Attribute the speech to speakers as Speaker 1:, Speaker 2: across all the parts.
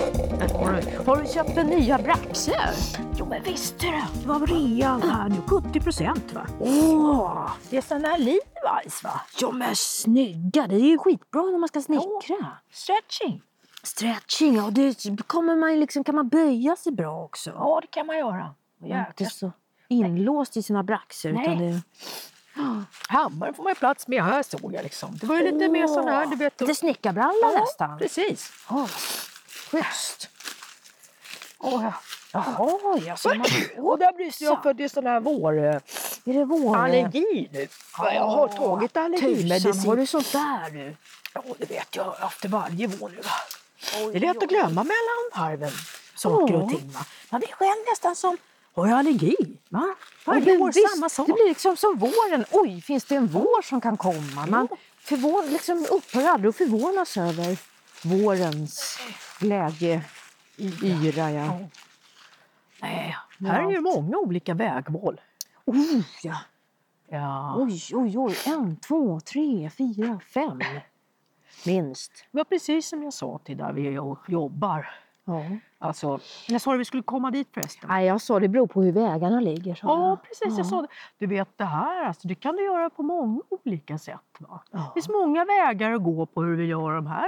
Speaker 1: Har du, har du köpt en nya braxer?
Speaker 2: Jo men visst du, det var rean här nu, 70 procent va? Åh, det är sån här Levi's va?
Speaker 1: Ja men snygga, det är ju skitbra när man ska snickra.
Speaker 2: Stretching.
Speaker 1: Stretching, ja det kommer man ju liksom, kan man böja sig bra också.
Speaker 2: Ja det kan man göra.
Speaker 1: Man är inte
Speaker 2: Jäklar.
Speaker 1: så inlåst i sina braxer.
Speaker 2: Nej.
Speaker 1: Utan det,
Speaker 2: Hammaren får man ju plats med här såg jag liksom. Det var ju lite mer sån här, du vet.
Speaker 1: lite snickarbralla
Speaker 2: Ja,
Speaker 1: nästan.
Speaker 2: Precis.
Speaker 1: Oh,
Speaker 2: Schysst. Åh, ja. Jaha.
Speaker 1: Oj, alltså, man,
Speaker 2: Och där blir jag för det är sån här vår...
Speaker 1: är det vår?
Speaker 2: Allergi nu. Ja, jag har tagit
Speaker 1: Tusan,
Speaker 2: allergimedicin.
Speaker 1: har du sånt där du?
Speaker 2: Ja, det vet jag. Jag har haft det varje vår nu. Va? Det är lätt att glömma mellan varven saker
Speaker 1: Ja.
Speaker 2: och ting. Va? Man blir själv nästan som, har jag allergi? Va?
Speaker 1: Ja,
Speaker 2: Varje
Speaker 1: men
Speaker 2: år
Speaker 1: visst,
Speaker 2: samma sak.
Speaker 1: Det blir liksom som våren. Oj, finns det en vår som kan komma? Man förvån, liksom upphör aldrig att förvånas över vårens glädje. Yra, ja.
Speaker 2: Nej, här
Speaker 1: Ja.
Speaker 2: är ju många olika vägval.
Speaker 1: Oh, ja.
Speaker 2: Ja,
Speaker 1: Oj, oj, oj. En, två, tre, fyra, fem. Minst.
Speaker 2: det var precis som jag sa till där vi jobbar.
Speaker 1: Ja.
Speaker 2: Alltså, jag sa att vi skulle komma dit förresten.
Speaker 1: Nej, jag sa det beror på hur vägarna ligger. sa
Speaker 2: Ja,
Speaker 1: jag.
Speaker 2: precis.
Speaker 1: Ja.
Speaker 2: Jag sa det. Du vet det här, alltså, det kan du göra på många olika sätt. Va?
Speaker 1: Ja.
Speaker 2: Det finns många vägar att gå på hur vi gör de här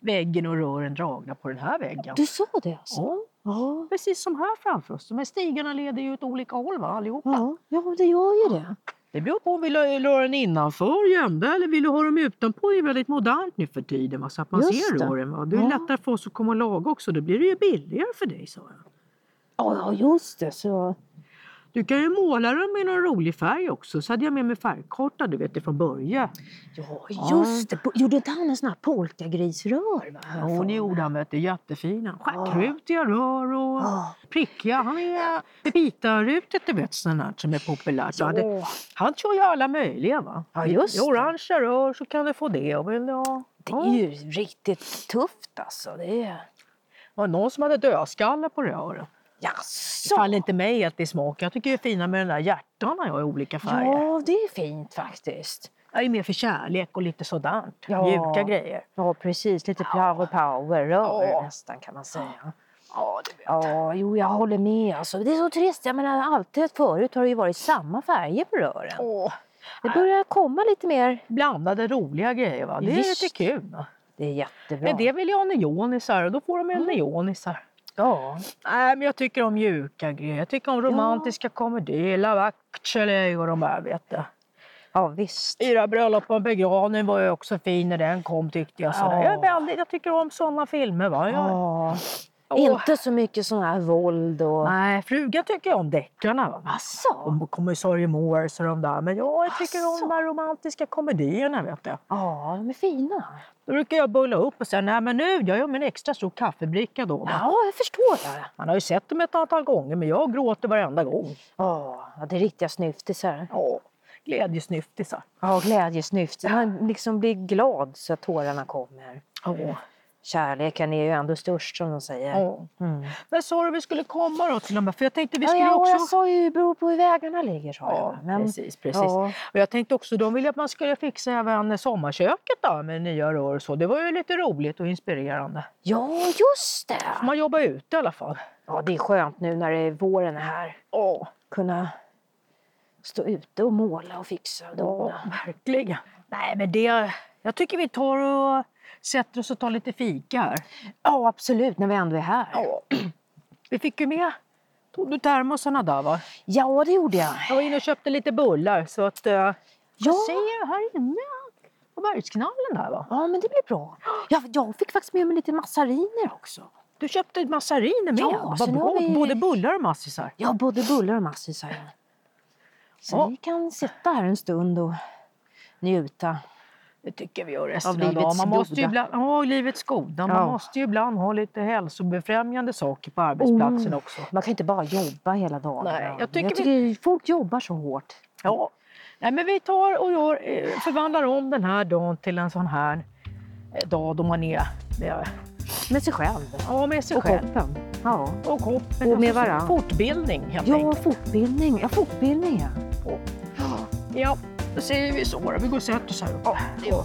Speaker 2: väggen och rören dragna på den här väggen.
Speaker 1: Du sa det alltså?
Speaker 2: Ja,
Speaker 1: Ja.
Speaker 2: precis som här framför oss. De här stigarna leder ju åt olika håll va, allihopa.
Speaker 1: Ja, ja det gör ju det.
Speaker 2: Det beror på om vi la la den innanför gömda eller vill du ha dem utanpå. Det är väldigt modernt nu för tiden va? så att man
Speaker 1: Just
Speaker 2: ser
Speaker 1: det.
Speaker 2: rören. Va? Det är
Speaker 1: Ja.
Speaker 2: lättare för oss att komma och laga också. Då blir det ju billigare för dig sa jag.
Speaker 1: Ja, ja just det. Så...
Speaker 2: Du kan ju måla dem i någon rolig färg också. Så hade jag med mig färgkarta du vet det från början.
Speaker 1: Ja,
Speaker 2: Ja.
Speaker 1: just det. Po- Gjorde inte han en sån här polkagrisrör? Va?
Speaker 2: Ja, Hon gjorde han vet du, jättefina. Stjärtrutiga rör och
Speaker 1: Ja.
Speaker 2: prickiga. Han är vitarutet du vet sånt här som är populärt. Ja, det,
Speaker 1: Ja,
Speaker 2: han kör ju alla möjliga va.
Speaker 1: Ja, just
Speaker 2: I orangea rör så kan du få det. Och vill du ha-
Speaker 1: det är ju riktigt tufft alltså. Det är...
Speaker 2: Det var någon som hade dödskallar på rören. Det
Speaker 1: Jaså?
Speaker 2: faller inte mig helt i smaken. Jag tycker det är fina med den där hjärtan jag i olika färger.
Speaker 1: Ja, det är fint faktiskt.
Speaker 2: Jag är mer för kärlek och lite sådant.
Speaker 1: Ja.
Speaker 2: Mjuka grejer.
Speaker 1: Ja, precis. Lite power power-rör
Speaker 2: Ja.
Speaker 1: nästan kan man säga.
Speaker 2: Ja, det vet
Speaker 1: Ja, jo, jag håller med. Alltså, det är så trist. Jag menar, alltid förut har det ju varit samma färger på rören.
Speaker 2: Åh.
Speaker 1: Det börjar komma lite mer.
Speaker 2: Blandade roliga grejer va. Det är
Speaker 1: Visst.
Speaker 2: lite kul. Va?
Speaker 1: Det är jättebra.
Speaker 2: Men det vill jag ha neonisar och då får
Speaker 1: Mm.
Speaker 2: de ju neonisar.
Speaker 1: Ja.
Speaker 2: Nej, men jag tycker om mjuka grejer. Jag tycker om romantiska komedier, La Vache och de där vet du.
Speaker 1: ja, visst.
Speaker 2: Yra bröllop och en begravning var ju också fin när den kom tyckte jag. Sådär.
Speaker 1: Ja.
Speaker 2: Jag, är väldigt, jag tycker om sådana filmer. Va? Jag,
Speaker 1: Ja.
Speaker 2: Åh.
Speaker 1: Inte så mycket sån här våld och...
Speaker 2: Nej, frugan tycker om deckarna. Va?
Speaker 1: Asså?
Speaker 2: Och kommissarie Morse och de där. Men ja, jag tycker om
Speaker 1: Asså.
Speaker 2: de här romantiska komedierna vet du.
Speaker 1: Ja, de är fina.
Speaker 2: Då brukar jag bulla upp och säga, nej men nu, jag gör min extra stor kaffebricka då. Va?
Speaker 1: Ja, jag förstår det.
Speaker 2: Man har ju sett dem ett antal gånger men jag gråter varenda gång.
Speaker 1: Ja, ja, det är riktiga snyftisar.
Speaker 2: Ja, glädjesnyftisar.
Speaker 1: Ja, glädjesnyftisar. Man liksom blir glad så att tårarna kommer.
Speaker 2: Ja.
Speaker 1: Kärleken är ju ändå störst som de säger.
Speaker 2: Ja.
Speaker 1: Mm.
Speaker 2: Men sa du vi skulle komma då till de här? För jag tänkte vi
Speaker 1: Ja,
Speaker 2: skulle
Speaker 1: ja, och jag
Speaker 2: också...
Speaker 1: sa ju det beror på hur vägarna ligger sa
Speaker 2: Ja,
Speaker 1: jag. Men,
Speaker 2: precis, precis.
Speaker 1: Ja.
Speaker 2: Och jag tänkte också, de ville att man skulle fixa även sommarköket då med nya rör och så. Det var ju lite roligt och inspirerande.
Speaker 1: ja, just det.
Speaker 2: Man jobbar ute i alla fall.
Speaker 1: Ja, det är skönt nu när det är våren är här.
Speaker 2: Ja,
Speaker 1: Kunna stå ute och måla och fixa och dona.
Speaker 2: verkligen. Nej, men det... Jag tycker vi tar och sätter oss och tar lite fika här.
Speaker 1: Ja, absolut, när vi ändå är här.
Speaker 2: Ja. Vi fick ju med... Tog du termosarna där va?
Speaker 1: Ja, det gjorde jag.
Speaker 2: Jag var inne och köpte lite bullar så att... eh,
Speaker 1: Ja.
Speaker 2: Jag ser här inne på bergsknallen där va?
Speaker 1: Ja, men det blir bra. Jag, jag fick faktiskt med mig lite massariner också.
Speaker 2: Du köpte massariner med.
Speaker 1: Ja,
Speaker 2: Ja,
Speaker 1: så
Speaker 2: Vad
Speaker 1: nu
Speaker 2: bra.
Speaker 1: har vi-
Speaker 2: Både bullar och massisar.
Speaker 1: Ja, både bullar och massisar. ja. Så
Speaker 2: Ja.
Speaker 1: vi kan sitta här en stund och njuta.
Speaker 2: Det tycker vi gör resten
Speaker 1: livets
Speaker 2: av dagen. Man måste ju
Speaker 1: goda.
Speaker 2: ibland, ja, livets goda. Man
Speaker 1: Ja.
Speaker 2: måste ju ibland ha lite hälsobefrämjande saker på
Speaker 1: Oh.
Speaker 2: arbetsplatsen också.
Speaker 1: Man kan inte bara jobba hela dagen.
Speaker 2: Nej, jag tycker vi-
Speaker 1: folk jobbar så hårt.
Speaker 2: Ja. Nej, men vi tar och gör, eh, förvandlar om den här dagen till en sån här eh, dag då man är med,
Speaker 1: Med sig själv.
Speaker 2: ja, med sig
Speaker 1: Och
Speaker 2: själv.
Speaker 1: koppen. Ja.
Speaker 2: Och koppen.
Speaker 1: Och med
Speaker 2: så-
Speaker 1: varann.
Speaker 2: Fortbildning helt
Speaker 1: ja,
Speaker 2: enkelt.
Speaker 1: fortbildning. Ja, fortbildning ja.
Speaker 2: Ja, då säger vi så. då. Vi går och sätter oss här uppe. Ja.